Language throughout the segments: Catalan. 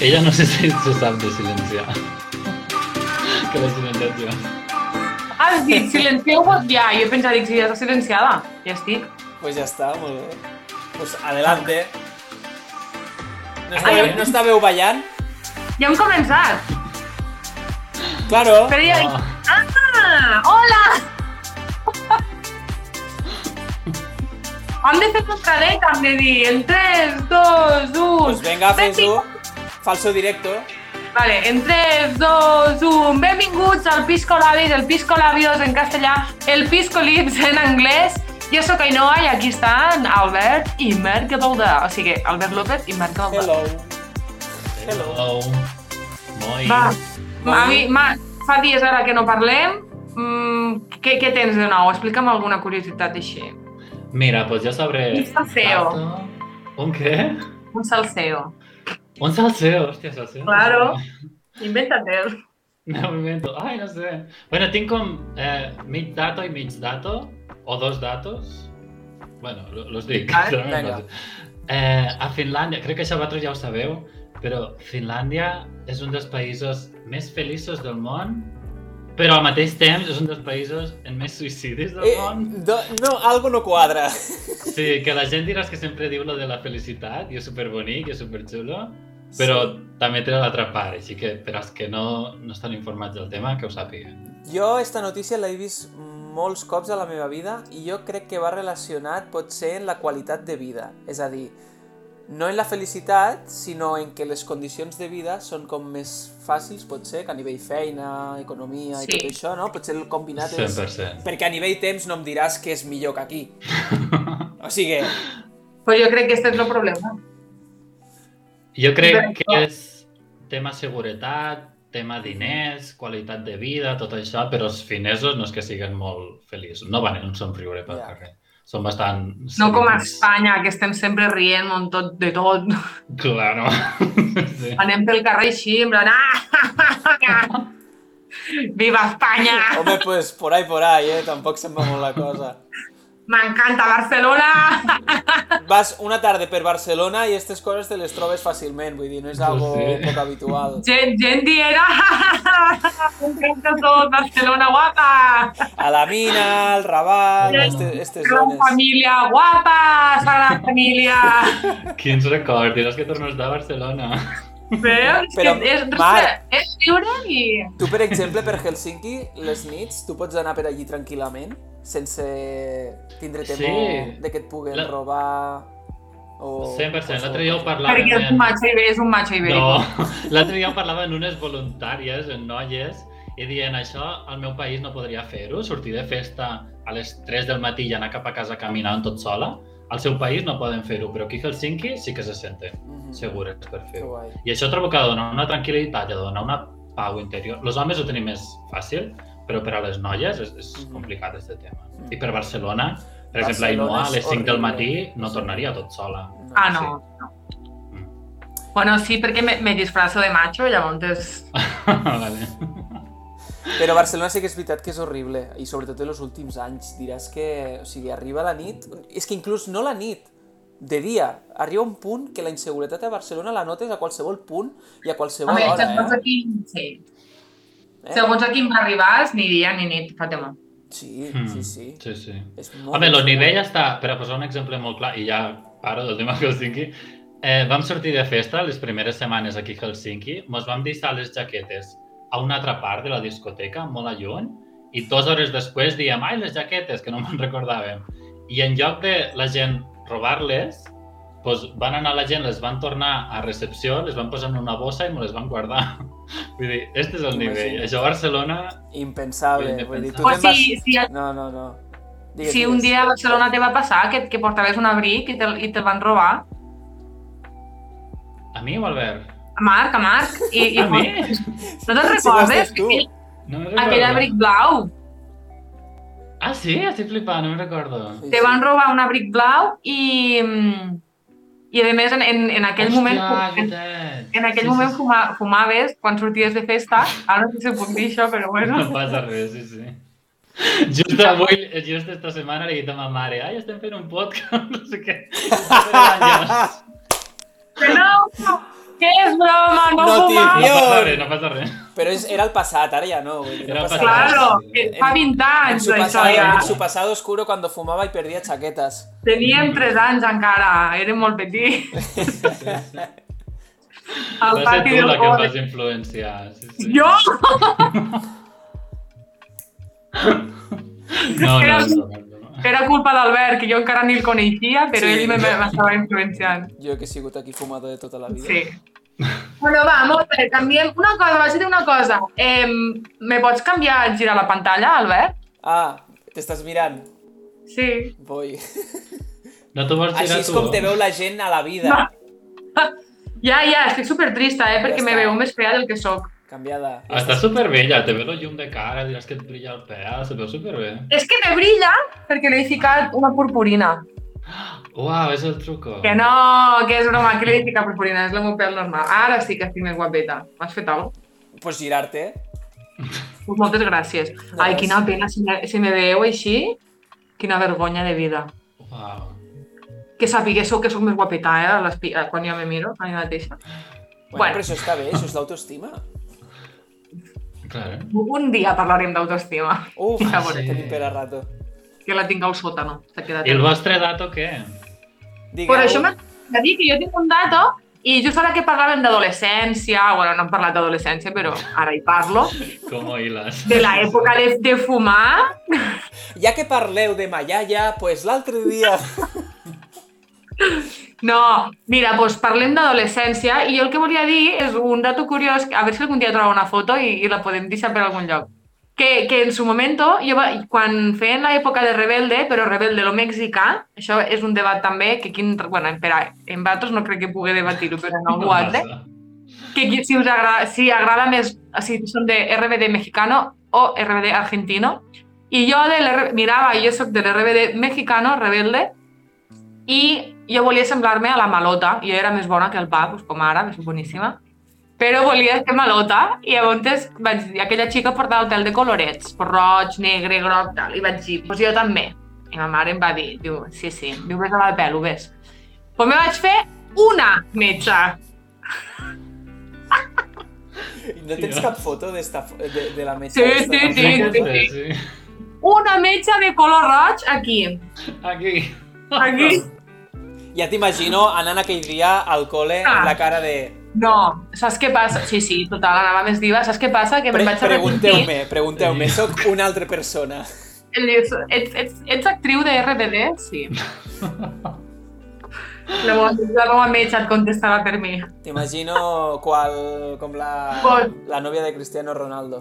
Ella no sé si se sap de silenciar. Que la silenciat jo. Ah, has dit silencieu-vos ja. Jo he pensat, dic, si ja està silenciada. Ja estic. Pues ya está, muy bien. Pues adelante. ¿No Ay, estàveu, yo- no estàveu ballant? Ja hem començat. Claro. Però ja... Ah. Ah, hola! Hem de fer contradet, hem de dir en 3, 2, 1... Pues venga, fes-ho. Falso directo. Vale, en 3, 2, 1... Benvinguts al Pisco Labis, el Pisco Labios en castellà, el Pisco Lips en anglès. Jo sóc Ainhoa i aquí estan Albert i Merca Dauda. O sigui, Albert López i Merca Dauda. Hello. Hello. Hello. Moi. Va, a mi, ma, fa dies ara que no parlem. Mm, què, què tens de nou? Explica'm alguna curiositat així. Mira, pues jo sabré... Un salseo. Un què? Un salseo. Un salseo, hòstia, salseo. Claro. Inventa-te'l. No, me invento. Ay, no sé. Bueno, tengo com eh, mig dato y mig dato, o dos datos. Bueno, lo- los dic. Vale, però no vinga. passa. eh, a Finlàndia, crec que això vosaltres ja ho sabeu, però Finlàndia és un dels països més feliços del món, però al mateix temps és un dels països amb més suïcidis del Eh, món. do- no, algo no cuadra. Sí, que la gent diràs que sempre diu lo de la felicitat, i és superbonic, i és superxulo, però també té l'altra part, així que per als que no, no estan informats del tema, que ho sàpiguen. Jo esta notícia l'he vist molts cops a la meva vida i jo crec que va relacionat potser en la qualitat de vida, és a dir, no en la felicitat, sinó en que les condicions de vida són com més fàcils, potser, que a nivell feina, economia i Sí. tot això, no? Potser el combinat és... 100%. Perquè a nivell temps no em diràs que és millor que aquí. O sigui, Però jo crec que este és el problema. Jo crec D'acord. que és tema seguretat, tema diners, qualitat de vida, tot això, però els finesos no és que siguin molt feliços. No van en un somriure pel Ja. carrer. Són bastant... No com a seriosos. Espanya, que estem sempre rient on tot, de tot. Claro. sí. Anem pel carrer així, en plan... Ah! Viva Espanya! home, pues por ahí, por ahí, eh? Tampoc se'n va molt la cosa. M'encanta Barcelona! Vas una tarda per Barcelona i aquestes coses te les trobes fàcilment, vull dir, no és algo sí. poc habitual. Gent, gent dient... "Ah! M'encanta tot, Barcelona guapa! a la mina, al Raval, Sí. aquestes Gran zones. família guapa, Sagrada Família. Quins records, diràs que tornes de Barcelona. Veus? Però, que és, Marc. és lliure i... Tu, per exemple, per Helsinki, les nits, tu pots anar per allí tranquil·lament, sense tindre Sí. temor sí. de que et puguen La- robar o... 100%. o- L'altre dia ho Perquè és parlàvem... un macho ibèric, és un macho ibèric. No, l'altre dia ho parlava en unes voluntàries, en noies, i dient això al meu país no podria fer-ho, sortir de festa a les 3 del matí i anar cap a casa caminant tot sola. Al seu país no poden fer-ho, però aquí a Helsinki sí que se senten Mhm. segures per Que fer-ho. guai. I això trobo que dona una tranquil·litat, i dona una pau interior. Els homes ho tenim més fàcil, però per a les noies és, és Mhm. complicat aquest tema. Mhm. I per Barcelona, per exemple, Barcelona Ainhoa, a és les 5 del horrible. matí no tornaria tot sola. No. Ah, no. no. Bueno, sí, perquè me, me disfrazo de macho, llavors és... vale. Però Barcelona sí que és veritat que és horrible, i sobretot en els últims anys. Diràs que, o sigui, arriba la nit... És que inclús no la nit, de dia. Arriba un punt que la inseguretat a Barcelona la notes a qualsevol punt i a qualsevol Home, segons hora, a quin... Sí. Ah, eh? eh? Segons a quin arribàs, ni dia ni nit, fa tema. Sí, Mm. sí, sí. Sí, sí. És molt... Home, el nivell està, per a posar un exemple molt clar, i ja paro del tema Helsinki, eh, vam sortir de festa les primeres setmanes aquí a Helsinki, mos vam deixar les jaquetes a una altra part de la discoteca, molt a lluny, i dues hores després diem, ai, les jaquetes, que no me'n recordàvem. I en lloc de la gent robar-les, doncs van anar la gent, les van tornar a recepció, les van posar en una bossa i me les van guardar. Vull dir, este és el nivell. Imagina't. Això a Barcelona... Impensable. Vull dir, tu O te'n vas... si, si, No, no, no. Digues, si un digues. dia a Barcelona te va passar que, que portaves un abric i te'l i te van robar, A mi o Albert? a Marc, a Marc, i, i A mi? no te'n Si vas recordes? ser tu. Aquell, No me'n aquell recordo. abric blau, Ah, sí? Estic flipant, no me'n recordo. Sí, Te sí. van robar un abric blau i... mm, I a més, en, en, en aquell Hòstia, moment... és En, veritat. en aquell Sí, sí, moment sí. fuma, fumaves quan sorties de festa. Ara no sé si puc dir això, però bueno. No passa res, sí, sí. Just avui, just este, esta setmana, li he dit a ma mare, ai, estem fent un podcast, no sé què. Estem fent un podcast. Que no! Que és broma, No passa repetició! res, no passa res. Però és, era el passat, ara ja no. Vull dir, Era no el passa passat. res. Claro, que fa 20 En anys su, d'això pasado, ja. en su pasado oscuro cuando fumaba y perdía chaquetas. Teníem 3 anys encara, érem molt petits. Al Va ser pati tu del la que em col·le. vas influenciar. Sí, sí. Jo? No, no, no. no, no. Era culpa d'Albert, que jo encara ni el coneixia, però Sí. ell me- me- m'estava influenciant. Yo que he sigut aquí fumado de tota la vida. Sí. Bueno, va, molt bé, canviem. Una cosa, vaig dir una cosa. Eh, me pots canviar, girar la pantalla, Albert? Ah, t'estàs mirant. Sí. Voy. No t'ho vols Així tirar és tu? com te veu la gent a la vida. Va. Ja, ja, estic supertrista, eh, perquè Ja me està. veu més fea del que sóc. Canviada. Estàs superbella, te ve la llum de cara, diràs que et brilla el pèl, se veu superbé. És que me brilla perquè li he ficat una purpurina. Uau, és el truco. Que no, que és broma, que li he ficat purpurina, és la meva pèl normal. Ara sí que estic més guapeta. M'has fet alguna cosa? Pues girar-te. Pues moltes gràcies. De Ai, res. quina pena, si me, si me veieu així, quina vergonya de vida. Uau. Que sapiguéssiu que sóc més guapeta, eh, a l'espi- eh, quan jo me miro a mi mateixa. Bueno, Bueno. bueno, però això està bé, això és d'autoestima. Clar, eh? Un dia parlarem d'autoestima, Uf, Ah, sí. sí. tenim per a rato. que la tinc al sòtano. S'ha quedat I el vostre dato què? Digueu, Però això m'ha de dir que jo tinc un dato i just ara que parlàvem d'adolescència, bueno, no hem parlat d'adolescència, però ara hi parlo, Com ho hiles? de l'època de, de fumar, ja que parleu de Mallalla, pues l'altre dia... no, mira, doncs parlem d'adolescència i jo el que volia dir és un dato curiós, a veure si algun dia trobo una foto i, i la podem deixar per algun lloc. Que, que en su momento, jo, va- quan feien l'època de Rebelde, però Rebelde lo mexicà, això és un debat també que quin... Bueno, per a, en vosaltres no crec que pugui debatir-ho, però en algú altre. que qui- si us agrada, si agrada més, si són de RBD mexicano o RBD argentino. I jo de l'R- mirava, jo sóc de l'RBD mexicano, rebelde, i jo volia semblar-me a la Malota, jo era més bona que el pa, doncs com ara, és boníssima, però volia ser Malota, i llavors vaig dir, aquella xica portava el pèl de colorets, per roig, negre, groc, tal, i vaig dir, doncs jo també. I ma mare em va dir, diu, sí, sí, diu, ves a la pèl, ho ves. Doncs me vaig fer una metge. No tens Tio. cap foto d'esta, fo- de, de la metge? Sí, esta? sí, Sí, sí, sí. una metja de color roig aquí. Aquí. Aquí. Ja t'imagino anant aquell dia al col·le Ah. amb la cara de... No, saps què passa? Sí, sí, total, anava més diva. Saps què passa? Que Pre me'n vaig arrepentir. pregunteu-me, pregunteu-me, sóc una altra persona. Ets, ets, ets, ets actriu de RBD? Sí. La meva, la meva metge et contestarà per mi. T'imagino qual, com la, Qual? la novia de Cristiano Ronaldo.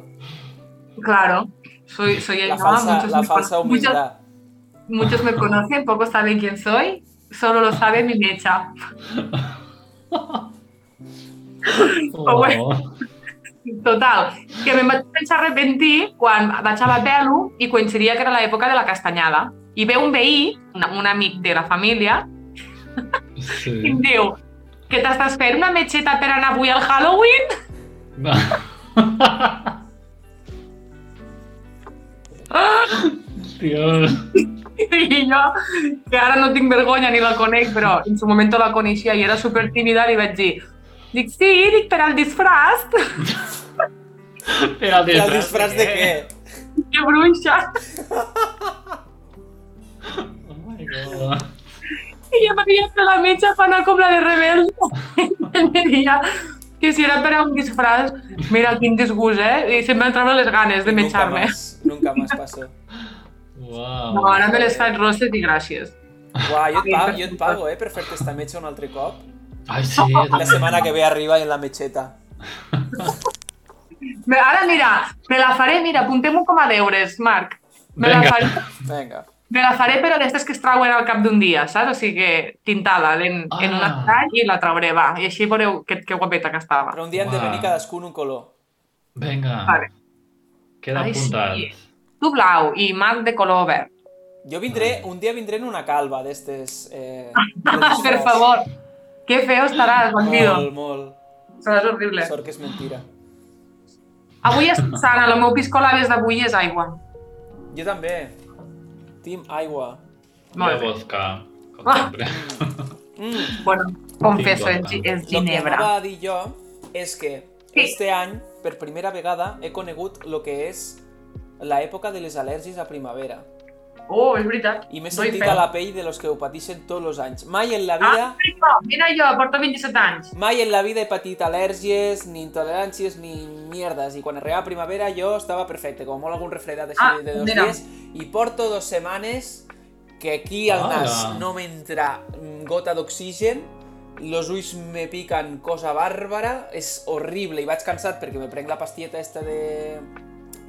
Claro. Soy, soy La ella. falsa, Ah, muchos la me falsa cono- muchos- humildad. Muchos me conocen, pocos saben quién soy, solo lo sabe mi mecha. Oh, Total, que me'n vaig pensar arrepentir quan vaig a la pelo i coincidia que era l'època de la castanyada. I ve un veí, un, un amic de la família, i sí. em diu que t'estàs fent una metxeta per anar avui al Halloween? Va. ¡Ah! Dios. I jo, que ara no tinc vergonya ni la conec, però en su moment la coneixia i era super tímida, li vaig dir Dic, sí, dic, per al disfraç, Però el I disfraç, el disfraç de què? que bruixa. Oh my god. I jo m'havia fet la metja per anar com la de rebel. I dia que si era per a un disfraç, mira, quin disgust, eh? I sempre em troben les ganes de Nunca metjar-me. más, nunca más pasó. Uau. No, ara me les faig rosses i gràcies. Uau, jo et pago, jo et pago eh, per fer-te esta metge un altre cop. Ai, sí, La setmana que ve arriba en la metxeta. Me- Ara, mira, me la faré, mira, apuntem-ho com a deures, Marc. Me la, Vinga. faré, Venga. me la faré, però d'aquestes que es trauen al cap d'un dia, saps? O sigui que tintada en, en un Ah. estany i la trauré, va. I així veureu que, que guapeta que estava. Però un dia hem de venir Uau. cadascun un color. Vinga. Vale. Queda Ai, apuntat. sí. Tu blau i Marc de color verd. Jo vindré, un dia vindré en una calva d'estes... Eh, Ah, per favor. Que feo estaràs, bandido. Molt, molt. Seràs horrible. Sort que és mentira. Avui és sana, el meu piscolabes d'avui és aigua. Jo també. Team aigua. Molt bé. Molt bé. Vodka, com Ah. sempre. Mm. Bueno, confesso, és, és Lo que Ginebra. anava a dir jo és que este any, per primera vegada, he conegut el que és l'època de les al·lèrgies a primavera. Oh, és veritat. I m'he No hi sentit fem. a la pell de los que ho pateixen tots els anys. Mai en la vida, Ah, mira, mira jo, porto 27 anys. mai en la vida he patit al·lèrgies, ni intoleràncies, ni mierdes. I quan arribava primavera jo estava perfecte, com molt algun refredat així Ah, de dos mira. dies. I porto dues setmanes que aquí al Hola. nas no m'entra mm, gota d'oxigen, los ulls me piquen cosa bàrbara, és horrible i vaig cansat perquè me prenc la pastilleta esta de...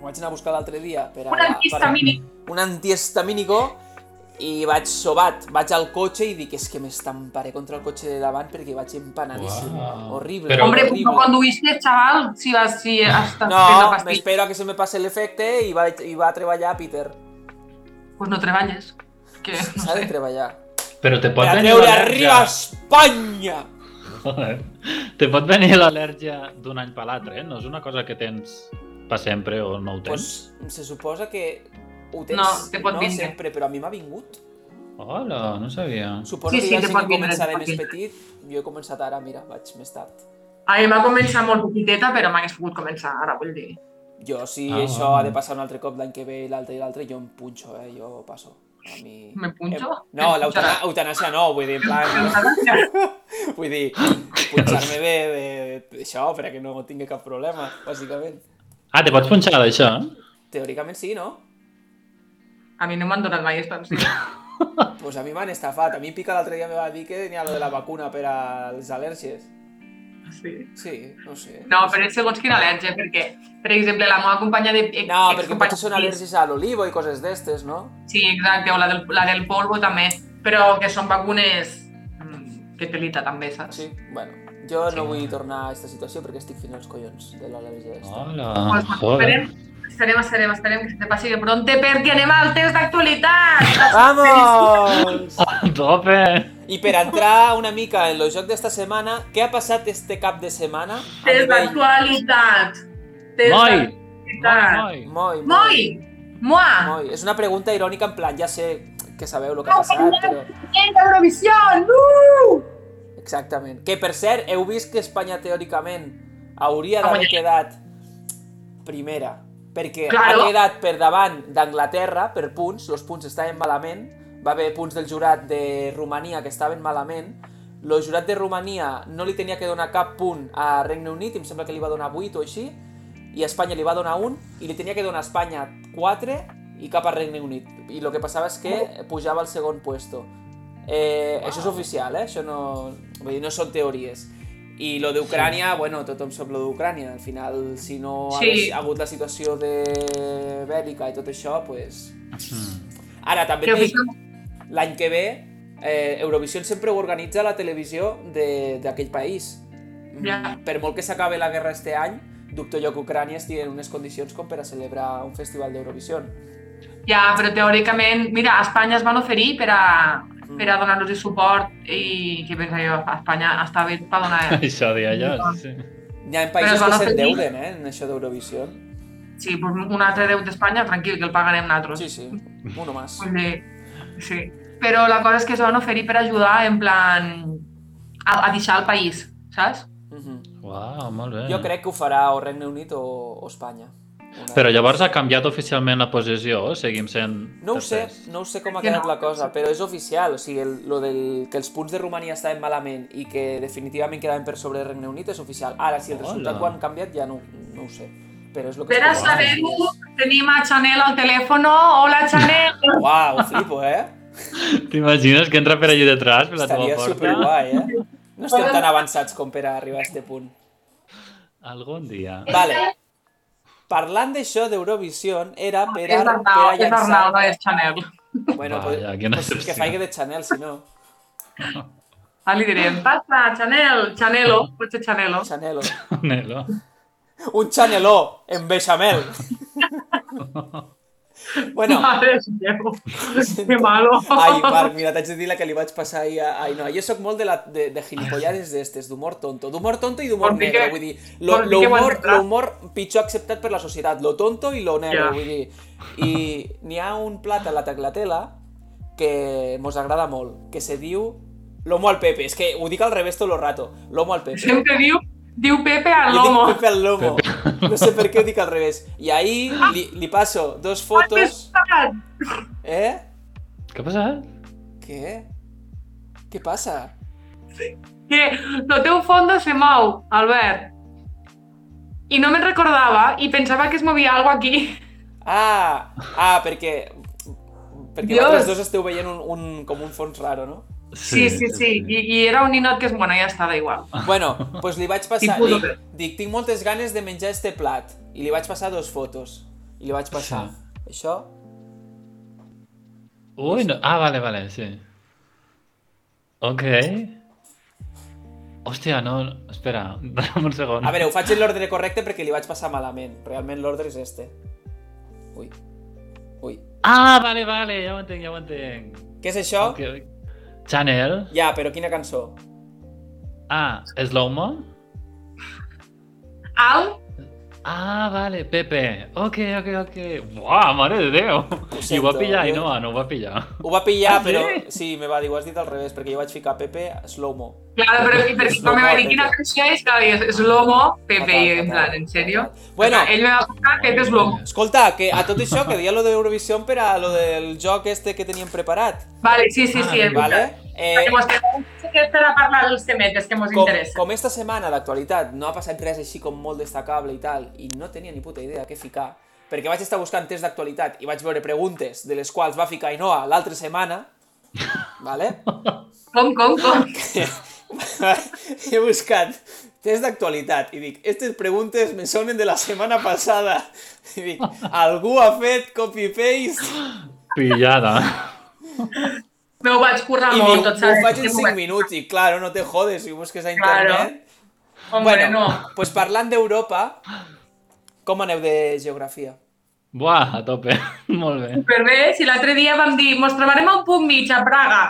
Ho vaig anar a buscar l'altre dia. Per a, Un antihistamínic. un antihistamínico i vaig sobat, vaig al cotxe i dic, és que m'estamparé contra el cotxe de davant perquè vaig empanadíssim. Uau. Horrible, Però- Hombre, pues horrible. no conduïstes, chaval, si vas si estàs no, fent la No, pastilla. m'espero a que se me passe l'efecte i, vaig, i va a treballar Peter. Pues no treballes. Que, no S'ha de sé. treballar. Però te pot Per a venir treure l'al·lèrgia- arriba a Espanya! Joder. Te pot venir l'al·lèrgia d'un any per l'altre, eh? No és una cosa que tens per sempre o no ho tens. Pues, se suposa que ho tens No, te pot no vindre. sempre, però a mi m'ha vingut. Hola, no sabia. Suposo Sí, que sí, hi ha te gent pot que vindre, comença te de pot més vindre. petit. Jo he començat ara, mira, vaig més tard. A mi va començar molt petiteta, però m'hagués pogut començar ara, vull dir. Jo, si Ah, això va. ha de passar un altre cop l'any que ve i l'altre i l'altre, jo em punxo, eh? Jo passo. A mi... Me punxo? Em- No, Em punxarà. l'eutanàsia no, vull dir, en plan... vull dir, punxar-me de, de, de, això perquè no tingui cap problema, bàsicament. Ah, te pots punxar d'això? Teòricament sí, no? A mi no m'han donat mai expansió. Doncs pues a mi m'han estafat. A mi Pica l'altre dia me va dir que tenia lo de la vacuna per a les al·lèrgies. Sí. Sí, no sé. No, però és segons quina al·lèrgia, perquè, per exemple, la meva companya de... ex- No, perquè excompanya- potser són al·lèrgies a l'olivo i coses d'estes, no? Sí, exacte, o la del, la del polvo també, però que són vacunes mm, que pelita també, saps? Sí, bueno. Jo Sí. no vull tornar a aquesta situació perquè estic fins als collons de l'al·lèrgia. esta. Hola, Pues, pues, Ah, joder. esperem, Doncs, esperem, esperem, esperem que se te passi de pronte perquè anem al test d'actualitat! Vamos! A tope! I per entrar una mica en el joc d'esta setmana, què ha passat este cap de setmana? a Test nivell- d'actualitat! Test Moi! d'actualitat! Moi, moi! Moi, moi, Moi! Moi! moi. És una pregunta irònica en plan, ja sé que sabeu el que ha passat, però... En Eurovisió! Uh! Exactament. Que, per cert, heu vist que Espanya, teòricament, hauria Ha d'haver guanyat. quedat primera, perquè Claro. ha quedat per davant d'Anglaterra per punts, els punts estaven malament, va haver punts del jurat de Romania que estaven malament, el jurat de Romania no li tenia que donar cap punt a Regne Unit, em sembla que li va donar 8 o així, i a Espanya li va donar un, i li tenia que donar a Espanya 4 i cap a Regne Unit. I el que passava és que pujava al segon puesto. Eh, Això és oficial, eh? Això no... Vull dir, no són teories. I lo d'Ucrània, bueno, tothom sap lo d'Ucrània. Al final, si no Sí. hagués hagut la situació de bèl·lica i tot això, pues... Mm. Ara, també Que et dic, oficial- l'any que ve, eh, Eurovision sempre ho organitza la televisió de- d'aquell país. Mm, Ja. Per molt que s'acabi la guerra este any, dubto jo que Ucrània estigui en unes condicions com per a celebrar un festival d'Eurovision. Ja, però teòricament, mira, a Espanya es van oferir per a, per a donar-los suport i què pensa jo, a Espanya està bé per donar... Això deia jo, sí. Hi ha es països van que oferir- s'endeuden, eh, en això d'Eurovision. Sí, pues un altre déu d'Espanya, tranquil, que el pagarem nosaltres. Sí, sí, uno más. Vull dir, sí. Però la cosa és que es van oferir per ajudar en plan a, a deixar el país, saps? Mhm. Uau, molt bé. Jo crec que ho farà o Regne Unit o, o Espanya. Una- Però llavors ha canviat oficialment la posició o seguim sent... No ho sé, tercers? no ho sé com ha Jo no. quedat la cosa, però és oficial, o sigui, el, lo del, que els punts de Romania estaven malament i que definitivament quedaven per sobre del Regne Unit és oficial. Ara, si el Hola. resultat ho han canviat, ja no, no ho sé. Però és lo que... Per a es- saber-ho, tenim a Chanel al telèfon. Hola, Chanel! Uau, flipo, eh? T'imagines que entra per allà detrás, per la teva Estaria porta? superguai, eh? No estem tan avançats com per a arribar a este punt. Algun dia. Vale. Parlant d'això d'Eurovisió, era per Ah, és a, per Arnau, a és Arnau, no llançar... és Chanel. Bueno, Vaja, quina pues, pues, que excepció. faig de Chanel, si no. Ah, li direm, passa, Chanel, Chanelo, potser Chanelo. Chanelo. Nelo. Un chaneló en bechamel. bueno, Madre meva, que malo. ai, Marc, mira, t'haig de dir la que li vaig passar ahir a... Ai, no, jo sóc molt de, la, de, de gilipollades d'estes, d'humor tonto. D'humor tonto i d'humor Vol dir negre, que- vull dir, vol dir que ho l'humor entendrà. l'humor pitjor acceptat per la societat, lo tonto i lo negre, Ja. vull dir. I n'hi ha un plat a la taclatela que mos agrada molt, que se diu l'homo al pepe. És que ho dic al revés tot el rato, l'homo al pepe. Sempre diu Diu Pepe al Jo lomo. dic Pepe al lomo. No sé per què ho dic al revés. I ahir li, li passo Ah, dos fotos... Pesat. Eh? Què ha passat? Què? Què passa? Que el teu fondo se mou, Albert. I no me'n recordava i pensava que es movia alguna aquí. Ah! Ah, perquè... Perquè Dios. vosaltres dos esteu veient un, un, com un fons raro, no? Sí, sí, sí. I, I era un ninot que és bueno, ja està, da igual. Bueno, doncs pues li vaig passar... Tipus Dic, de- dic, tinc moltes ganes de menjar este plat. I li vaig passar dos fotos. I li vaig passar. Això... Ui, no. Ah, vale, vale, sí. Ok. Hòstia, no... Espera, dame un segon. A veure, ho faig en l'ordre correcte perquè li vaig passar malament. Realment l'ordre és este. Ui. Ui. Ah, vale, vale, ja ho entenc, ja ho entenc. Què és això? Ok. Channel. Ja, però quina cançó? Ah, Slow Mo. Al, Ah, vale, Pepe. Ok, ok, ok. Buah, mare de Déu. I ho va sento, pillar i jo- no, no ho va pillar. Ho va pillar, Ah, sí? però... Sí, me va dir, ho has dit al revés, perquè jo vaig ficar Pepe slow-mo. claro, però i perquè quan me va dir quina canció és, clar, és, és l'homo, Pepe, i jo, en plan, en sèrio? Bueno, ell me va posar Pepe és l'homo. escolta, que a tot això, que deia lo d'Eurovisió per a lo del joc este que teníem preparat, Vale, sí, sí, sí. Ah, és vale? veritat. Eh, Perquè mos quedem sense per a parlar dels temetes que mos com, interessen. com esta setmana, l'actualitat, no ha passat res així com molt destacable i tal, i no tenia ni puta idea què ficar, perquè vaig estar buscant tests d'actualitat i vaig veure preguntes de les quals va ficar Ainoa l'altra setmana, vale? Com, com, com? he buscat test d'actualitat i dic, aquestes preguntes me sonen de la setmana passada. I dic, algú ha fet copy-paste? Pillada. Me ho vaig currar I molt, diu, tot ho saps? faig en Ah, Que m'ho 5 vaig- minuts i claro, no te jodes si ho busques a Claro. internet. Hombre, no. pues parlant d'Europa, com aneu de geografia? Buah, a tope. Molt bé. Superbé, si l'altre dia vam dir, mos trobarem a un punt mig a Praga.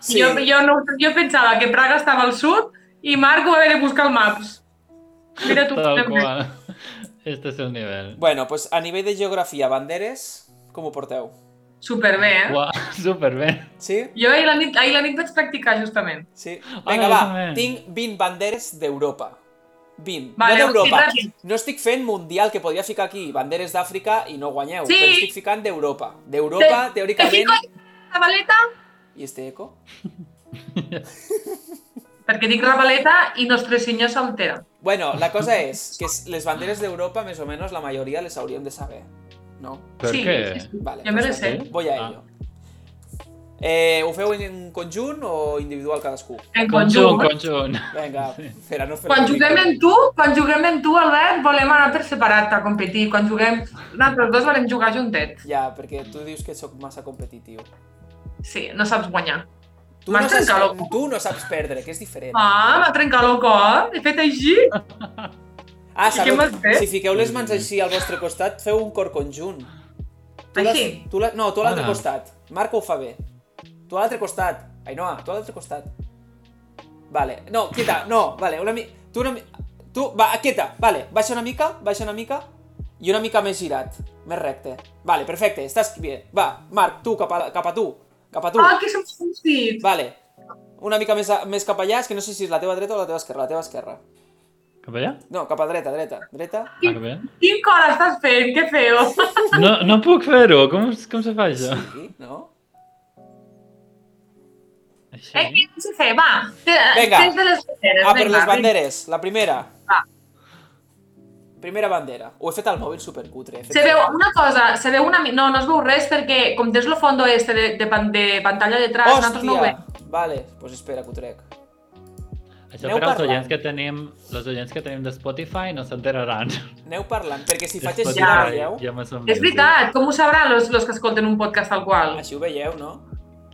Sí. Jo, jo, no, jo pensava que Praga estava al sud i Marc ho va haver de buscar al Maps. Mira tu. Tal qual. Este és el nivell. Bueno, pues a nivell de geografia, banderes, com ho porteu? Superbé, eh? Buah, superbé. Sí? Jo ahir la, nit, ahir la nit vaig practicar, justament. Sí. Ah, Vinga, jo va, també. tinc 20 banderes d'Europa. 20. Vale, no d'Europa. sí, ràpid. No estic fent mundial, que podria ficar aquí banderes d'Àfrica i no guanyeu, Sí. però estic ficant d'Europa. D'Europa, Te- Te teòricament... fico la baleta, I este eco? perquè dic rabaleta i Nostre Senyor s'altera. Bueno, la cosa és que s- les banderes d'Europa, més o menys, la majoria les hauríem de saber, no? Per sí, què? Sí, sí. Vale, Jo me les pues sé. sí. Voy a Ah. ello. Eh, ho feu en conjunt o individual cadascú? En Conjunt, conjunt. conjunt. Vinga, espera, no fer Quan juguem en tu, quan juguem en tu, Albert, volem anar per separat a competir. Quan juguem... Nosaltres dos volem jugar juntets. Ja, perquè tu dius que sóc massa competitiu. Sí, no saps guanyar. Tu M'has no, saps, trencat el- tu no saps perdre, que és Eh. diferent. Ah, m'ha trencat el cor. He fet així. Ah, I sabeu, què m'has fet? si fiqueu les mans així al vostre costat, feu un cor conjunt. Tu l'has- Així. Tu l'has- no, tu a l'altre Ara. costat. Marc ho fa bé. Tu a l'altre costat. Ainhoa, tu a l'altre costat. Vale, no, quieta, no, vale, una mica... Tu una mi... Tu, va, quieta, vale, baixa una mica, baixa una mica i una mica més girat, més recte. Vale, perfecte, estàs bé. Va, Marc, tu, cap a, cap a tu, cap a tu. Ah, que som sentit. Vale, una mica més, a, més cap allà, és que no sé si és la teva dreta o la teva esquerra, la teva esquerra. Cap allà? No, cap a dreta, dreta, dreta. Ah, cap allà? Quin cor estàs fent? Que feo. No, no puc fer-ho. Com, es- com se fa això? Sí, no? Eh, Així? què has de fer? Va. Te- Vinga. Tens de les banderes. Ah, per vinga, les banderes, la primera. Va. Primera bandera. Ho he fet al mòbil supercutre. he fet Se veu supercutre. una cosa, se veu una... mi- No, no es veu res perquè com tens el fondo este de, de, pan- de pantalla detrás, nosaltres no ho veiem. Vale, doncs pues espera que ho trec. Això Aneu per als parlant. oients que tenim, els oients que tenim de Spotify no s'enteraran. Aneu parlant, perquè si faig així Spotify ho ja. veieu. eh? ja m'ha semblat. És veritat, com ho sabran els, els que escolten un podcast tal qual? Així ho veieu, no?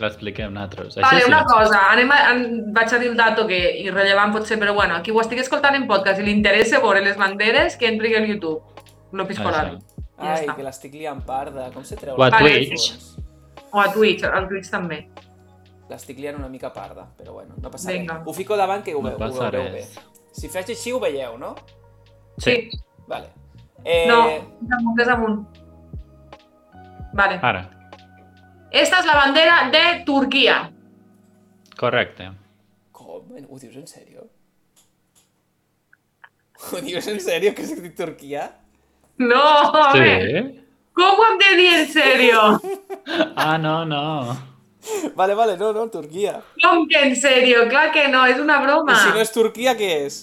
L'expliquem nosaltres. Així Vale, Eh, sí. una cosa, anem a, en, vaig a dir un dato que irrellevant pot ser, però bueno, qui ho estigui escoltant en podcast i li interessa veure les banderes, que entri al YouTube, Ah, López Colari. Ja Ai, està. que l'estic liant parda. Com se treu O a la- Twitch. O a Twitch, al Twitch també. L'estic liant una mica parda, però bueno, no passa Vinga. res. Ho fico davant que ho, No veu, ho passa veureu bé. res. Si faig així ho veieu, no? Sí, Vale. Eh, No, des amunt, des amunt. Vale. ara. Esta és la bandera de Turquia. Correcte. Com? Ho dius en sèrio? ¿Ho dius en sèrio que has dit Turquia? No, home! Sí? Com ho hem de dir en sèrio? Ah, no, no. Vale, vale, no, no, Turquia. Com que en sèrio? Clar que no, és una broma. I si no és Turquia, què és?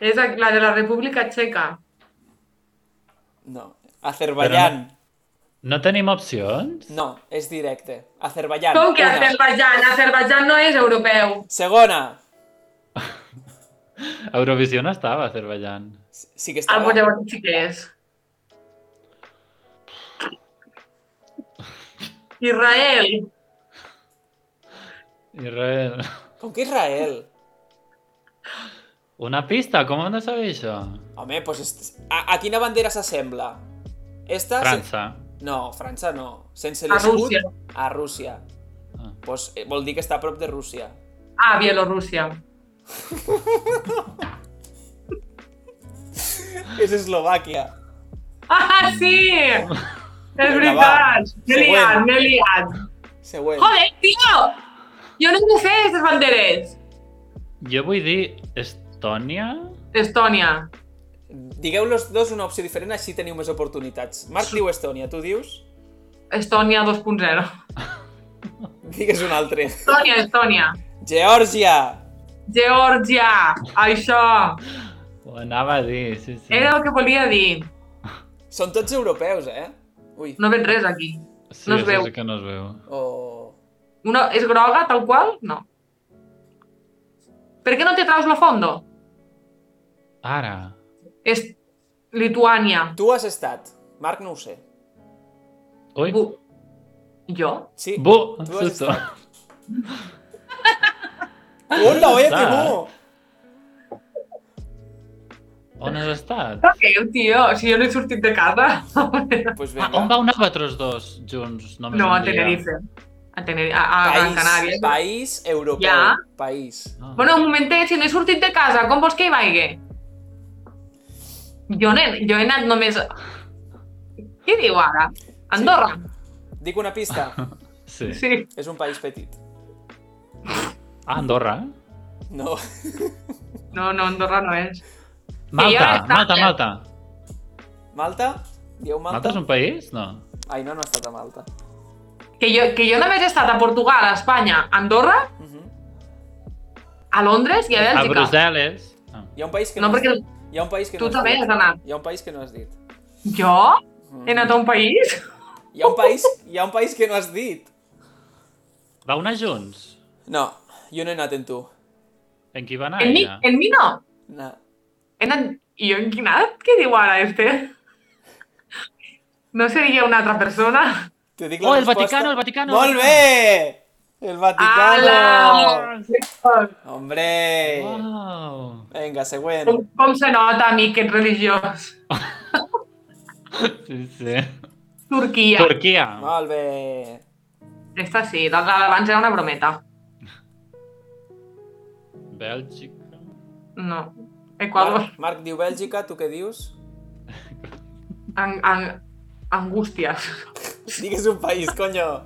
És la de la República Txeca. No. Azerbaiyán. No tenim opcions? No, és directe. Azerbaiyán. Com que una. Azerbaidjan? Azerbaidjan no és europeu. Segona. Eurovisió no estava, a Azerbaiyán. Sí sí que Ah, estava. pues llavors sí que és. Israel. Israel. Com que Israel? Una pista, com hem de saber això? Ah, Home, pues est... a, a quina bandera s'assembla? Esta... França. Sen... No, França no. Sense A l'escut... Rússia. A Rússia. Ah. Pues, eh, vol dir que està a prop de Rússia. Ah, Bielorússia. És Eslovàquia. Ah, sí! És Vinga, va. veritat. M'he liat, m'he liat. Següent. Següent. Joder, tio! Jo no ho sé, aquestes banderes. Jo vull dir Estònia? Estònia. Digueu los dos una opció diferent, així teniu més oportunitats. Marc diu Estònia, tu dius? Estònia 2.0. Digues un altre. Estònia, Estònia. Geòrgia! Geòrgia. Això. Ho anava a dir, sí, sí. Era el que volia dir. Són tots europeus, eh? Ui. No veig res aquí. Sí, no es això veu. sí que no es veu. Oh. Una, és groga, tal qual? No. Per què no te traus lo fondo? Ara. És Lituània. Tu has estat. Marc no ho sé. Ui. Bu... Jo? Sí. Bu. Tu has Susto. estat. Hola, oye, que Estat. bo! On has estat? Què, tio? Si jo no he sortit de casa. Pues Ah, vinga. on vau anar vosaltres dos junts? Només No, un a dia? Ah. Tenerife. A Tenerife, a, a Gran País, Canària. país europeu. Ah, Ja. País. Ah. Bueno, un momentet, si no he sortit de casa, com vols que hi vagi? Jo, nen, jo he anat només... Què diu ara? Andorra? Dic una pista. Sí. Sí. És un país petit. Ah, Andorra. No. No, no, Andorra no és. jo he Malta, estat- Malta, Malta. Malta? Dieu Malta? Malta és un país? No. Ai, no, no ha estat a Malta. Que jo, que jo només he estat a Portugal, a Espanya, a Andorra, Uh -huh. a Londres i a A Bèlgica. Brussel·les. Ah. Hi ha un país que no, no, has perquè dit. Hi ha un país que tu no també has has dit. anat. Hi ha un país que no has dit. Jo? Mm. He anat a un país? Hi ha un país, hi ha un país que no has dit. Vau anar junts? No, jo no he anat en tu. En qui va anar En mi, ella? en mi no. No. He anat... I jo en quin anat? Què diu ara este? No seria una altra persona? Te dic la Oh, el resposta. Vaticano, el Vaticano. Molt bé! El Vaticano! Ala! Hombre! Wow. Vinga, següent. Com, com se nota, amic, que ets religiós. Sí, sí. Turquia. Tur Turquia. Molt bé. Esta sí, la de l'abans era una brometa. Bèlgica. No. Equador. Marc, Marc diu Bèlgica, tu què dius? An an angústies. Digues un país, conyo.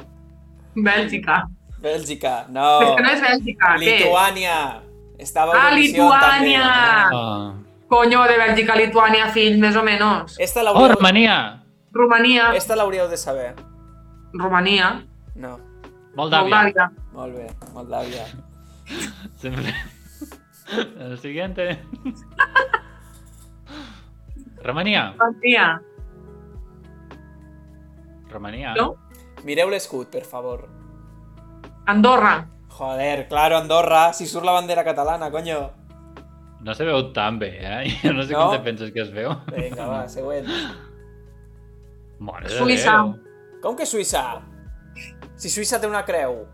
Bèlgica. Bèlgica, no. És que no és Bèlgica, què és? Lituània. Estava a Ah, Eurovisió, Lituània! també. Ah. Coño, de Bèlgica, Lituània, fill, més o menys. Esta Oh, l'hauríeu Romania. Romania, esta l'hauríeu de saber. Romania, No. Moldàvia. Moldàvia. Molt bé, Moldàvia. Sempre. El siguiente. Romania. Romania. Ah. Romania. No? Mireu l'escut, per favor. Andorra. Joder, claro, Andorra, si surt la bandera catalana, coño. No se veu tan bé, eh? Jo no sé No? com te penses que es veu. Vinga, va, següent. Mare de Suïssa. Déu. Com que Suïssa? Si Suïssa té una creu.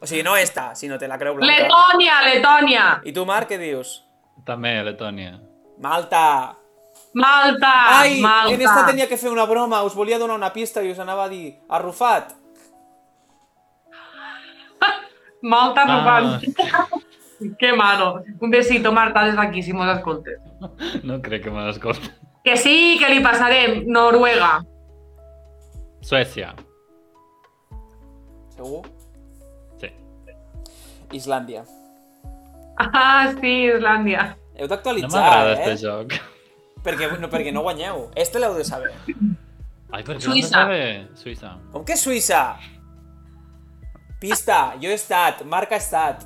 O sigui, no esta, sinó té la creu blanca. Letònia, Letònia. I tu, Marc, què dius? També, Letònia. Malta! Malta, Ai, Ah, Malta. en esta tenia que fer una broma, us volia donar una pista i us anava a dir arrufat. Malta no Ah. Que malo. Un besito, Marta, des d'aquí, si mos escoltes. No crec que me l'escolti. Que sí, que li passarem. Noruega. Suècia. Segur? Sí. Islàndia. Ah, sí, Islàndia. Heu No d'actualitzar, m'agrada eh? aquest joc. Perquè no, perquè no guanyeu. Este l'heu de saber. Ai, per què Suïssa. No sabe? Suïssa. Com que Suïssa? Pista, jo he estat, Marc ha estat.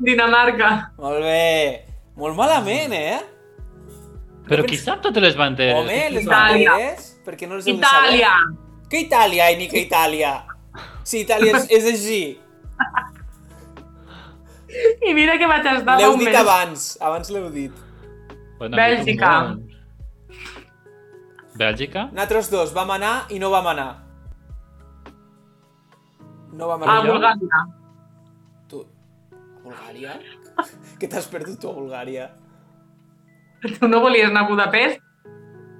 Dinamarca. Molt bé. Molt malament, eh? Però pens- qui sap totes les banderes? Home, les Itàlia. banderes, per què no les heu de saber? Itàlia. Que Itàlia, ai, ni que Itàlia. Si Itàlia és, és així. I mira que vaig estar fa L'heu un dit mes. abans, abans l'heu dit. Bueno, Bèlgica. un bon. Bèlgica? Nosaltres dos vam anar i no vam anar. No vam A anar. Bulgària. Tu... A Bulgària? que t'has perdut tu a Bulgària? Tu no volies anar a Budapest,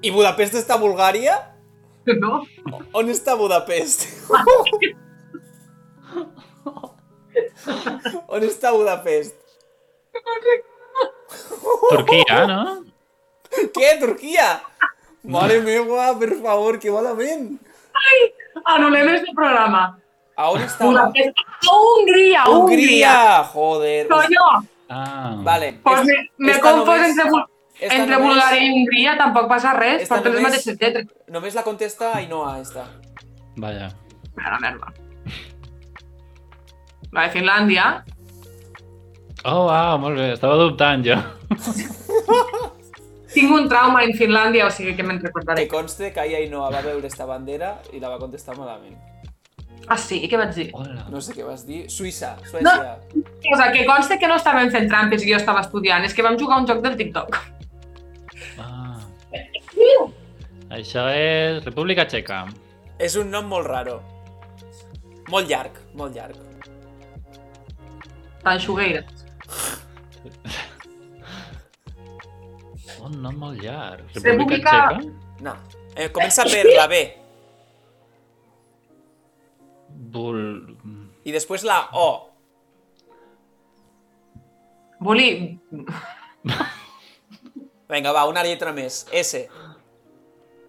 I Budapest està a Bulgària? no? On està Budapest? On està Budapest? Turquia, no? Què, Turquia? Mare meva, per favor, que malament. Anulem este programa. A on està? Budapest. A Hongria, Hongria. Hongria! Joder. Coño, Ah. Vale. pues Es- me, me esta confós només- entre, Bul- esta entre només- Bulgària i Hongria, tampoc passa res, Esta per tres només- mateixes lletres. Només la contesta Ainhoa, esta. Vaja. Mira, merda. La de Finlàndia. Oh, wow, molt bé. Estava dubtant jo. Tinc un trauma en Finlàndia, o sigui que me'n recordaré. Que conste que ahir Ainhoa va veure esta bandera i la va contestar malament. Ah, sí? I què vaig dir? Hola. No sé què vas dir. Suïssa, Suècia. O sigui, que consta que no estàvem fent trampes i jo estava estudiant, és que vam jugar a un joc del TikTok. Ah. Això és República Txeca. És un nom molt raro. Molt llarg, molt llarg. Tanxugueira. Un nom molt llarg. República- Txeca? No. Eh, comença per la B Bul... i després la O. Boli... Vinga, va, una lletra més. S.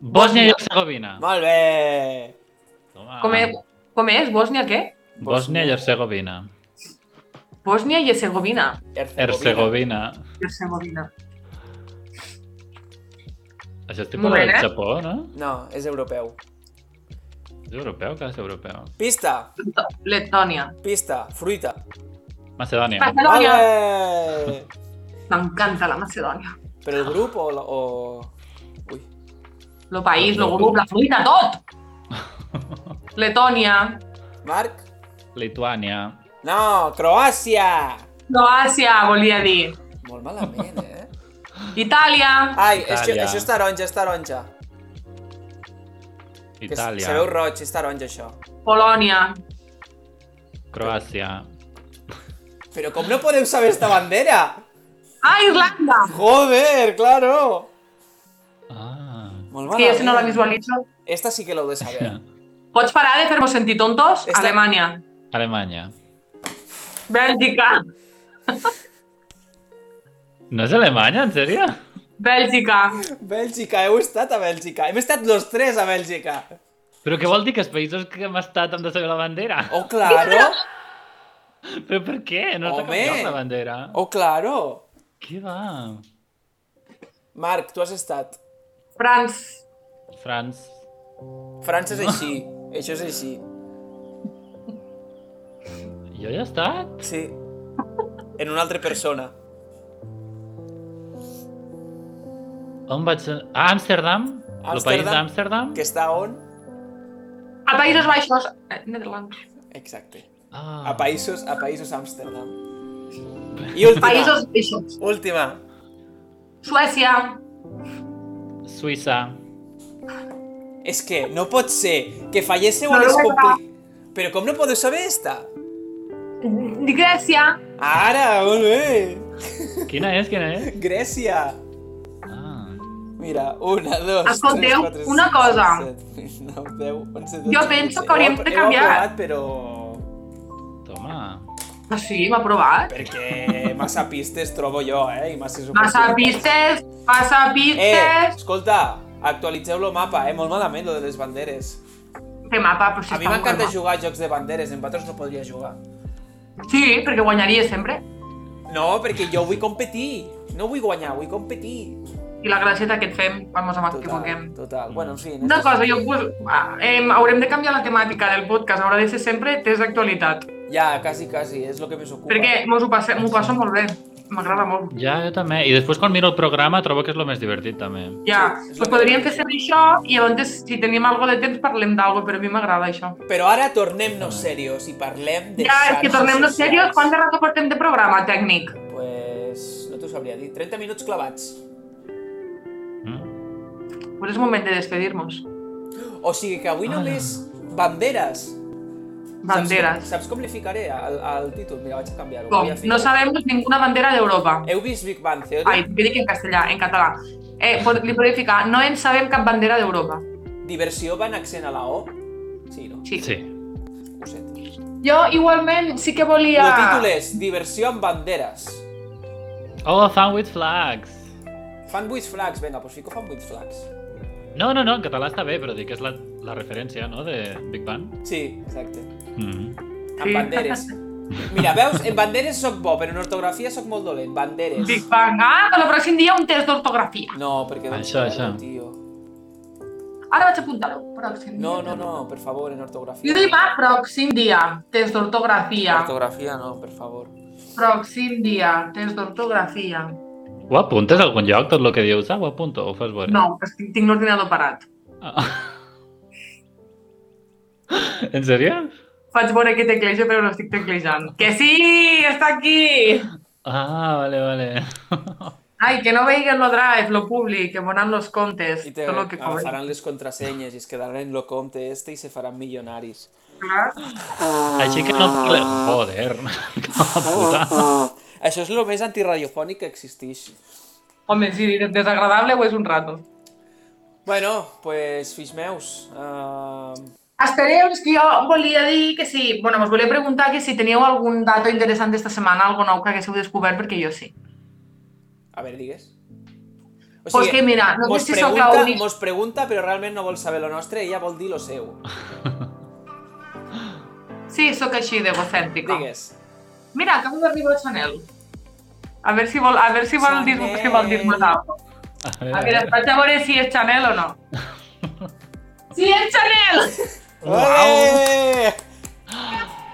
Bòsnia i Herzegovina. Molt bé. Toma. Com, és, com és? Bòsnia què? Bòsnia i Herzegovina. Bòsnia i Herzegovina. Herzegovina. Herzegovina. Això és Molt tipus bé, del eh? Japó, no? No, és europeu. És europeu, que és europeu. Pista, Letònia. pista, fruita. Macedònia. Macedònia. Ole! M'encanta la Macedònia. Però el grup o... la- o... Ui. Lo país, lo grup, la fruita, tot! Letònia. Marc? Lituània. No, Croàcia! Croàcia, volia dir. Molt malament, eh? Itàlia. Ai, això, Itàlia. això és taronja, és taronja. Que se- Itàlia. Se veu roig, és taronja, això. Polònia. Croàcia. Però com no podeu saber esta bandera? Ah, Irlanda! Joder, claro! Ah. És que jo Molt malament. si no la visualitzo... Esta sí que l'heu de Eh. saber. Pots parar de fer-vos sentir tontos? Està- Alemanya. Alemanya. Bèlgica. No és Alemanya, en sèrio? Bèlgica. Bèlgica, heu estat a Bèlgica. Hem estat los tres a Bèlgica. Però què vol dir que els països que hem estat hem de saber la bandera? Oh, claro! Però per què? No està Home! canviant la bandera. Oh, claro! Què va? Marc, tu has estat. França. Franç. França és així. Això és així. Jo ja he estat? Sí. En una altra persona. On vaig... A Amsterdam? El país Amsterdam. d'Amsterdam? Que està on? A Països Baixos. Eh, Netherlands. Exacte. Ah. A països, a països Amsterdam. I última. Països Baixos. Última. Suècia. Suïssa. És que no pot ser que falléssiu No, a no les vaig compli... Però com no podeu saber esta? Grècia. Ara, molt bé! Quina és? Quina és? Grècia! Ah. Mira, una, dos, tres, Escolteu, quatre, una cinc, cosa. set, vuit, nou, deu, onze, dotze, Jo penso tretze. que hauríem de Heu- heu canviar. aprovat, però... Toma. Ah, sí, m'ha provat. Perquè massa pistes trobo jo, eh? I massa Massa oportunitats. pistes, massa Eh, pistes. escolta, actualitzeu el mapa, eh? Molt malament, lo de les banderes. Què mapa, però si Eh. A mi està molt m'encanta mal. jugar a jocs de banderes, en vosaltres no podria jugar. Sí, perquè guanyaria sempre. No, perquè jo vull competir. No vull guanyar, vull competir. I la gracieta que et fem quan ens equivoquem. Total, total. Bueno, en fi. Una cosa, jo pues, eh, haurem de canviar la temàtica del podcast, haurà de ser sempre test d'actualitat, Ja, quasi, quasi, és el que més ocupa. perquè mos ho passe- m'ho passo molt bé, m'agrada molt. Ja, jo també. I després quan miro el programa trobo que és el més divertit també. Ja, Sí, és pues la podríem idea. fer servir això i llavors si tenim alguna de temps parlem d'algo, però a mi m'agrada això. Però ara tornem-nos serios i parlem de Ja, és que tornem-nos serios, quant de rato portem de programa tècnic? Pues no t'ho sabria dir. 30 minuts clavats. Mm? Pues és moment de despedir-nos. O sigui que avui Ah. només banderes. Saps com, Banderes. saps com li ficaré al, al títol? Mira, vaig a canviar-ho. Com? Voy a ficar- No sabem ninguna bandera d'Europa. Heu vist Big Bang Theory? Ai, què dic en castellà, en català. Eh, pot- li podré ficar, no en sabem cap bandera d'Europa. Diversió va en accent a la O? Sí, no? Sí. Sí. Ho sé. Jo igualment sí que El volia... títol és Diversió amb banderes. Oh, fan with flags. Fan 8 flags, vinga, doncs fico fan 8 flags. No, no, no, en català està bé, però dic que és la, la referència, no?, de Big Bang. Sí, exacte. Mm. Amb Sí. banderes. Mira, veus, en banderes sóc bo, però en ortografia sóc molt dolent. Banderes. Big Bang. Ah, però el pròxim dia un test d'ortografia. No, perquè no Això, això. tio. Ara vaig apuntar-ho. Pròxim No, dia. no, no, per favor, en ortografia. Jo dic, va, pròxim dia, test d'ortografia. Ortografia no, per favor. Pròxim dia, test d'ortografia. Ho apuntes a algun lloc, tot el que dius? Ah, ho apunto, ho fas veure. No, estic, tinc l'ordinador parat. Ah. en sèrio? Faig veure que teclejo, però no estic teclejant. Que sí, està aquí! Ah, vale, vale. Ai, que no veiguen lo drive, lo públic, que vonan los comptes, I te tot lo que cobren. agafaran les contrasenyes i es quedaran en lo compte este i se faran milionaris. Clar. Així que no parle... Joder, com a puta. Això és el més antiradiofònic que existeix. Home, sí, desagradable ho és un rato. Bueno, pues, fills meus, uh, Espereu, és que jo volia dir que si... Bueno, us volia preguntar que si teníeu algun dato interessant d'esta setmana, algo nou que haguéssiu descobert, perquè jo sí. a veure, digues. O Pues que mira, no mos, sé si sóc la pregunta, única- mos pregunta, però realment no vol saber lo nostre, ella vol dir lo seu. Ah. Sí, sóc així d'egocèntrica. Digues. Mira, acabo d'arribar a Chanel. A veure si vol, a veure si vol dir si vol dir Chanel. A A veure, vaig a veure si és Chanel o no. Sí, és Chanel! Ole!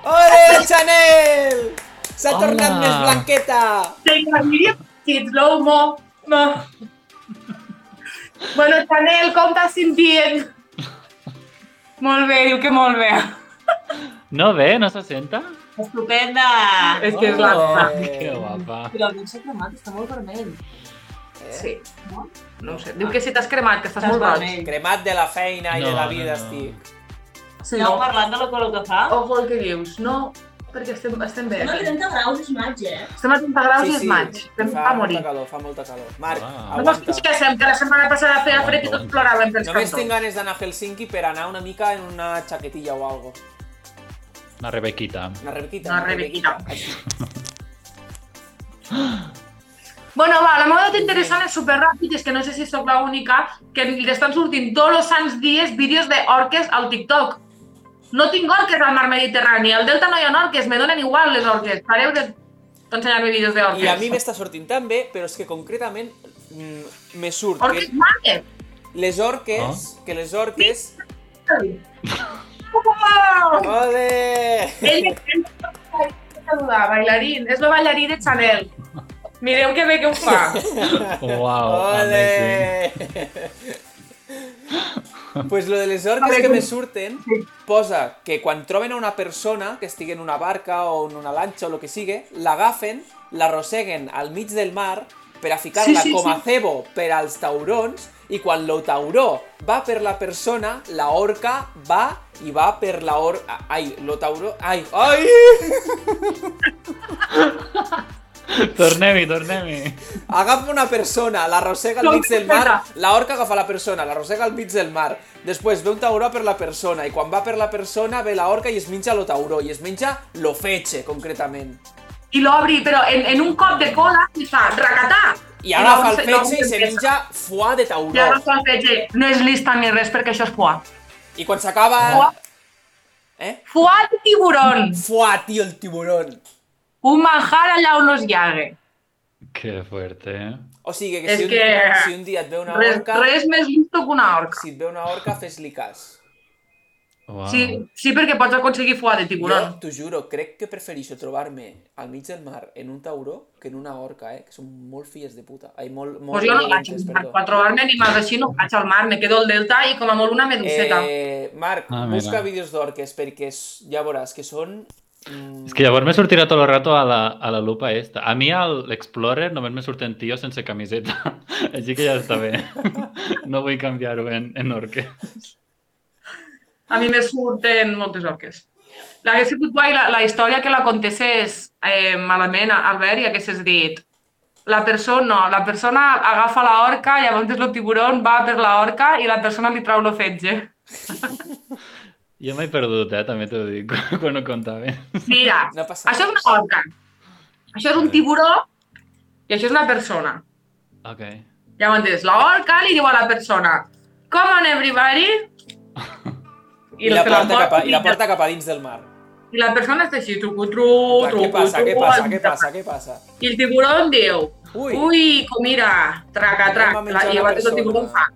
Ole, Chanel! S'ha Hola. tornat més blanqueta! Vinga, diria petit, slow-mo. No. Bueno, Chanel, com t'has sentint? Molt bé, diu que molt bé. No ve, no se senta? Estupenda! És que és la meva. Oh, que guapa. Però el s'ha cremat, està molt vermell. Sí. No? no ho sé. Diu que si t'has cremat, que estàs Estàs molt roig. vermell. Cremat de la feina i No, de la vida, no, no. estic. Sí, Esteu parlant de lo color que fa? Ojo el que dius, no, perquè estem, estem bé. Oh, eh, No, aquí. 30 graus és maig, eh? Estem a 30 graus i és maig, estem fa a morir. molta calor, fa molta calor. Marc, Ah. No ens aguanta. fixéssim, que la setmana passada feia fred i tots ploràvem pels Només cantons. tinc ganes d'anar a Helsinki per anar una mica en una xaquetilla o algo. Una Rebequita. Una rebequita. Una rebequita. Bueno, va, la meva data interessant és superràpid, és que no sé si sóc l'única que li estan sortint tots els sants dies vídeos d'orques al TikTok. No tinc orques al mar Mediterrani, al Delta no hi ha orques, me donen igual les orques. Pareu de- d'ensenyar-me vídeos d'orques. I a mi m'està sortint tan bé, però és que concretament mm, me surt que Orques mares! les orques, que les orques... Uau! Ole! Ell és el saludar, bailarín. És el ballarí de Chanel. Mireu que bé que ho fa. Wow, amazing. Ole! pues lo de les orques que me surten posa que quan troben a una persona que estigui en una barca o en una lanxa o lo que sigue, l'agafen, l'arrosseguen al mig del mar per a ficar-la Sí, sí, com a sí. cebo per als taurons i quan lo tauró va per la persona, la orca va i va per la or... Ai, lo tauró... Ai, ai! Tornem-hi, tornem-hi. Agafa una persona, l'arrossega al No, mig del espera. mar, la orca agafa la persona, l'arrossega al mig del mar, després ve un tauró per la persona, i quan va per la persona ve la orca i es menja lo tauró, i es menja lo fetge, concretament. I l'obri, però en, en un cop de cola i fa racatà. I agafa el llavors- llavors fetge i se empieza. menja foie de I tauró. agafa el fetge. No és lista ni res perquè això és foie. I quan s'acaba... Foie, Eh? foie de tiburón. Foie, tio, el tiburón. Un manjar allà on los llague. Que fuerte. O sigui que És si, un, que- dia- si un dia et ve una Res, orca, res més listo que una orca. si et ve una orca, fes-li cas. Wow. Sí, sí, perquè pots aconseguir fuà de tiburon. Jo t'ho juro, crec que prefereixo trobar-me al mig del mar en un tauró que en una orca, eh? Que són molt filles de puta. Ai, molt, molt Pues jo no vaig violentes, al mar. perdó. Per trobar-me animals així no vaig al mar, me quedo al delta i com a molt una meduseta. Eh, Marc, Ah, mira. busca vídeos d'orques perquè s- ja veuràs que són... Mm, Es que llavors me sortirà tot el rato a la, a la lupa esta. A mi al Explorer només me surten tios sense camiseta. Així que ja està bé. No vull canviar-ho en, en orque. A mi me surten moltes orques. L'hagués sigut guai la, la història que la contesses eh, malament, Albert, i haguessis dit la persona, no, la persona agafa la orca, llavors el tiburon va per la orca i la persona li trau lo fetge. Jo m'he perdut, eh? També t'ho dic, quan ho contava. Mira, No passa això és res. una orca, això és un tiburó i això és una persona. Ok. Llavors, la orca li diu a la persona Come on, everybody! I, la te porta cap a, porta- I la porta cap a dins del mar. I la persona està així, truco, truco, Clar, truco, què passa, què truco, passa, al- què passa, què passa? I el tiburón diu, Ui, ui, ui com mira, traca, traca, Vam menjar i una llavors el persona. tiburón fa,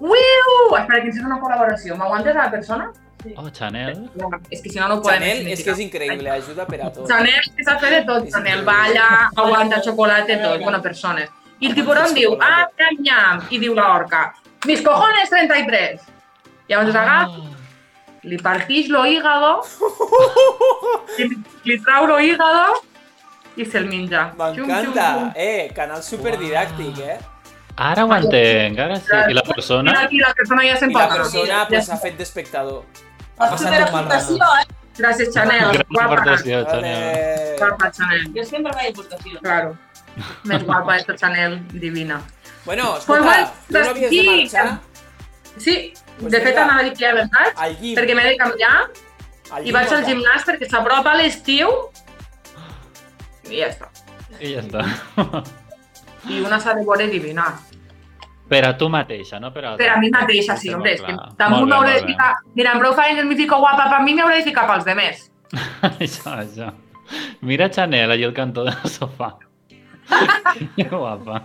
uiu, espera, que ens fem una col·laboració, m'aguantes a la persona? Oh, Chanel. No, és que si no, no ho podem. Chanel és que és explicar. increïble, ajuda per a tot. Chanel que s'ha fet de tot, És Chanel increïble. balla, aguanta xocolata, tot, bona persona. I el tiburón diu, ah, xocolata. nyam, nyam, i diu l'orca, mis cojones 33. Llavors Ah, agafa, Mm. li partís lo hígado, li, li trau lo hígado i se'l menja. Xum, xum, xum. M'encanta! Eh, canal superdidàctic, eh? Ara ho entenc, ara sí. I la persona? I la persona ja I la s'empata. persona Ja pues, està. ha fet d'espectador. Ha Has fet passat la un mal rato. puntació, eh? Gràcies, Chanel. Gran Guapa. aportació, Chanel. Vale. Guapa, Chanel. Jo sempre vaig a puntació. Claro. Més guapa esta Chanel, divina. Bueno, Pues escolta, bueno, tu no havies de sí. marxar Sí, Pues de fet vinga. anava a dir que ja veritat, al llim. perquè m'he de canviar i vaig al gimnàs perquè s'apropa l'estiu i ja està. I ja està. I una s'ha de veure divina. Per a tu mateixa, no per a... Per a mi mateixa, sí, Ah, Està hombre, molt és que clar. també Molt bé, m'hauré de molt bé. ficar... Mira, amb prou feines m'hi fico guapa, per mi m'hi hauré de ficar pels demés. això, això. Mira Chanel allí al cantó del sofà. Que guapa.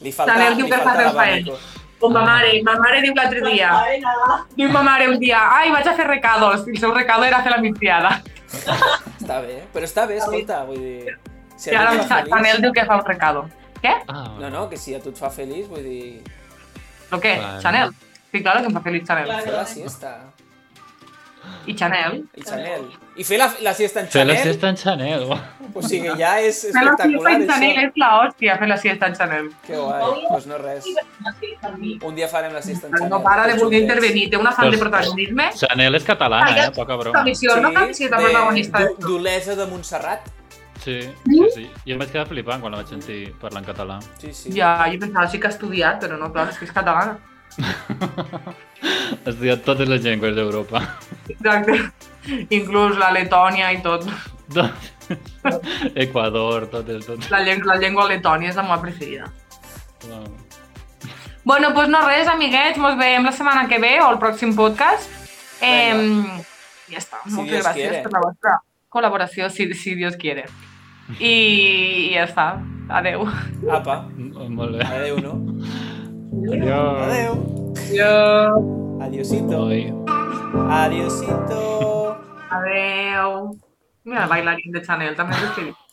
Li falta, Chanel li diu que falta fa fer l'abanico. Com ma mare, ma mare diu l'altre dia, diu ma mare un dia, ai, vaig a fer recados, i el seu recado era fer la migdiada. Està bé, però està bé, escolta, vull dir... Si I a ara tu em et sa- fa Chanel feliç... diu que fa un recado. Què? Ah, No, no, que si a tu et fa feliç, vull dir... Lo què? Vale. Chanel. Sí, claro que em fa feliç Chanel. Claro. Fer la siesta. I Chanel. I Chanel. I fer la, la siesta en Fer la Chanel, siesta en Chanel. uau. o sigui, ja és Fer la siesta espectacular, en Chanel això. és la hòstia, fer la siesta en Chanel. Que guai, doncs pues no res. Un dia farem la siesta en Chanel. No para de tots voler junts. intervenir, té una fan de Pues- protagonisme. Chanel és catalana, Ah, ja- eh? Poca broma. Comissió, no cal que sigui la protagonista. eh? de- d'Olesa de Montserrat. Sí, Mm? sí, sí. Jo em vaig quedar flipant quan la vaig sentir parlar en català. Sí, sí. Ja, jo pensava sí que ha estudiat, però no, clar, és que és catalana. Has estudiat totes les llengües d'Europa. Exacte. Inclús la Letònia i tot. Tot... Equador, tot el... Tot... La, lleng la llengua letònia és la meva preferida. No. Bueno, doncs pues no res, amiguets, mos veiem la setmana que ve o el pròxim podcast. Eh, ja està, Si moltes Dios gràcies quiere. per la vostra col·laboració, si, si Dios quiere. I, I ja està, adeu. Apa, Molt bé. adeu, no? Adiós. Adeu. Adeu. Adiosito. Oi. Adiosito. Adeu. Mira, el bailarín de Chanel, també és escrivit.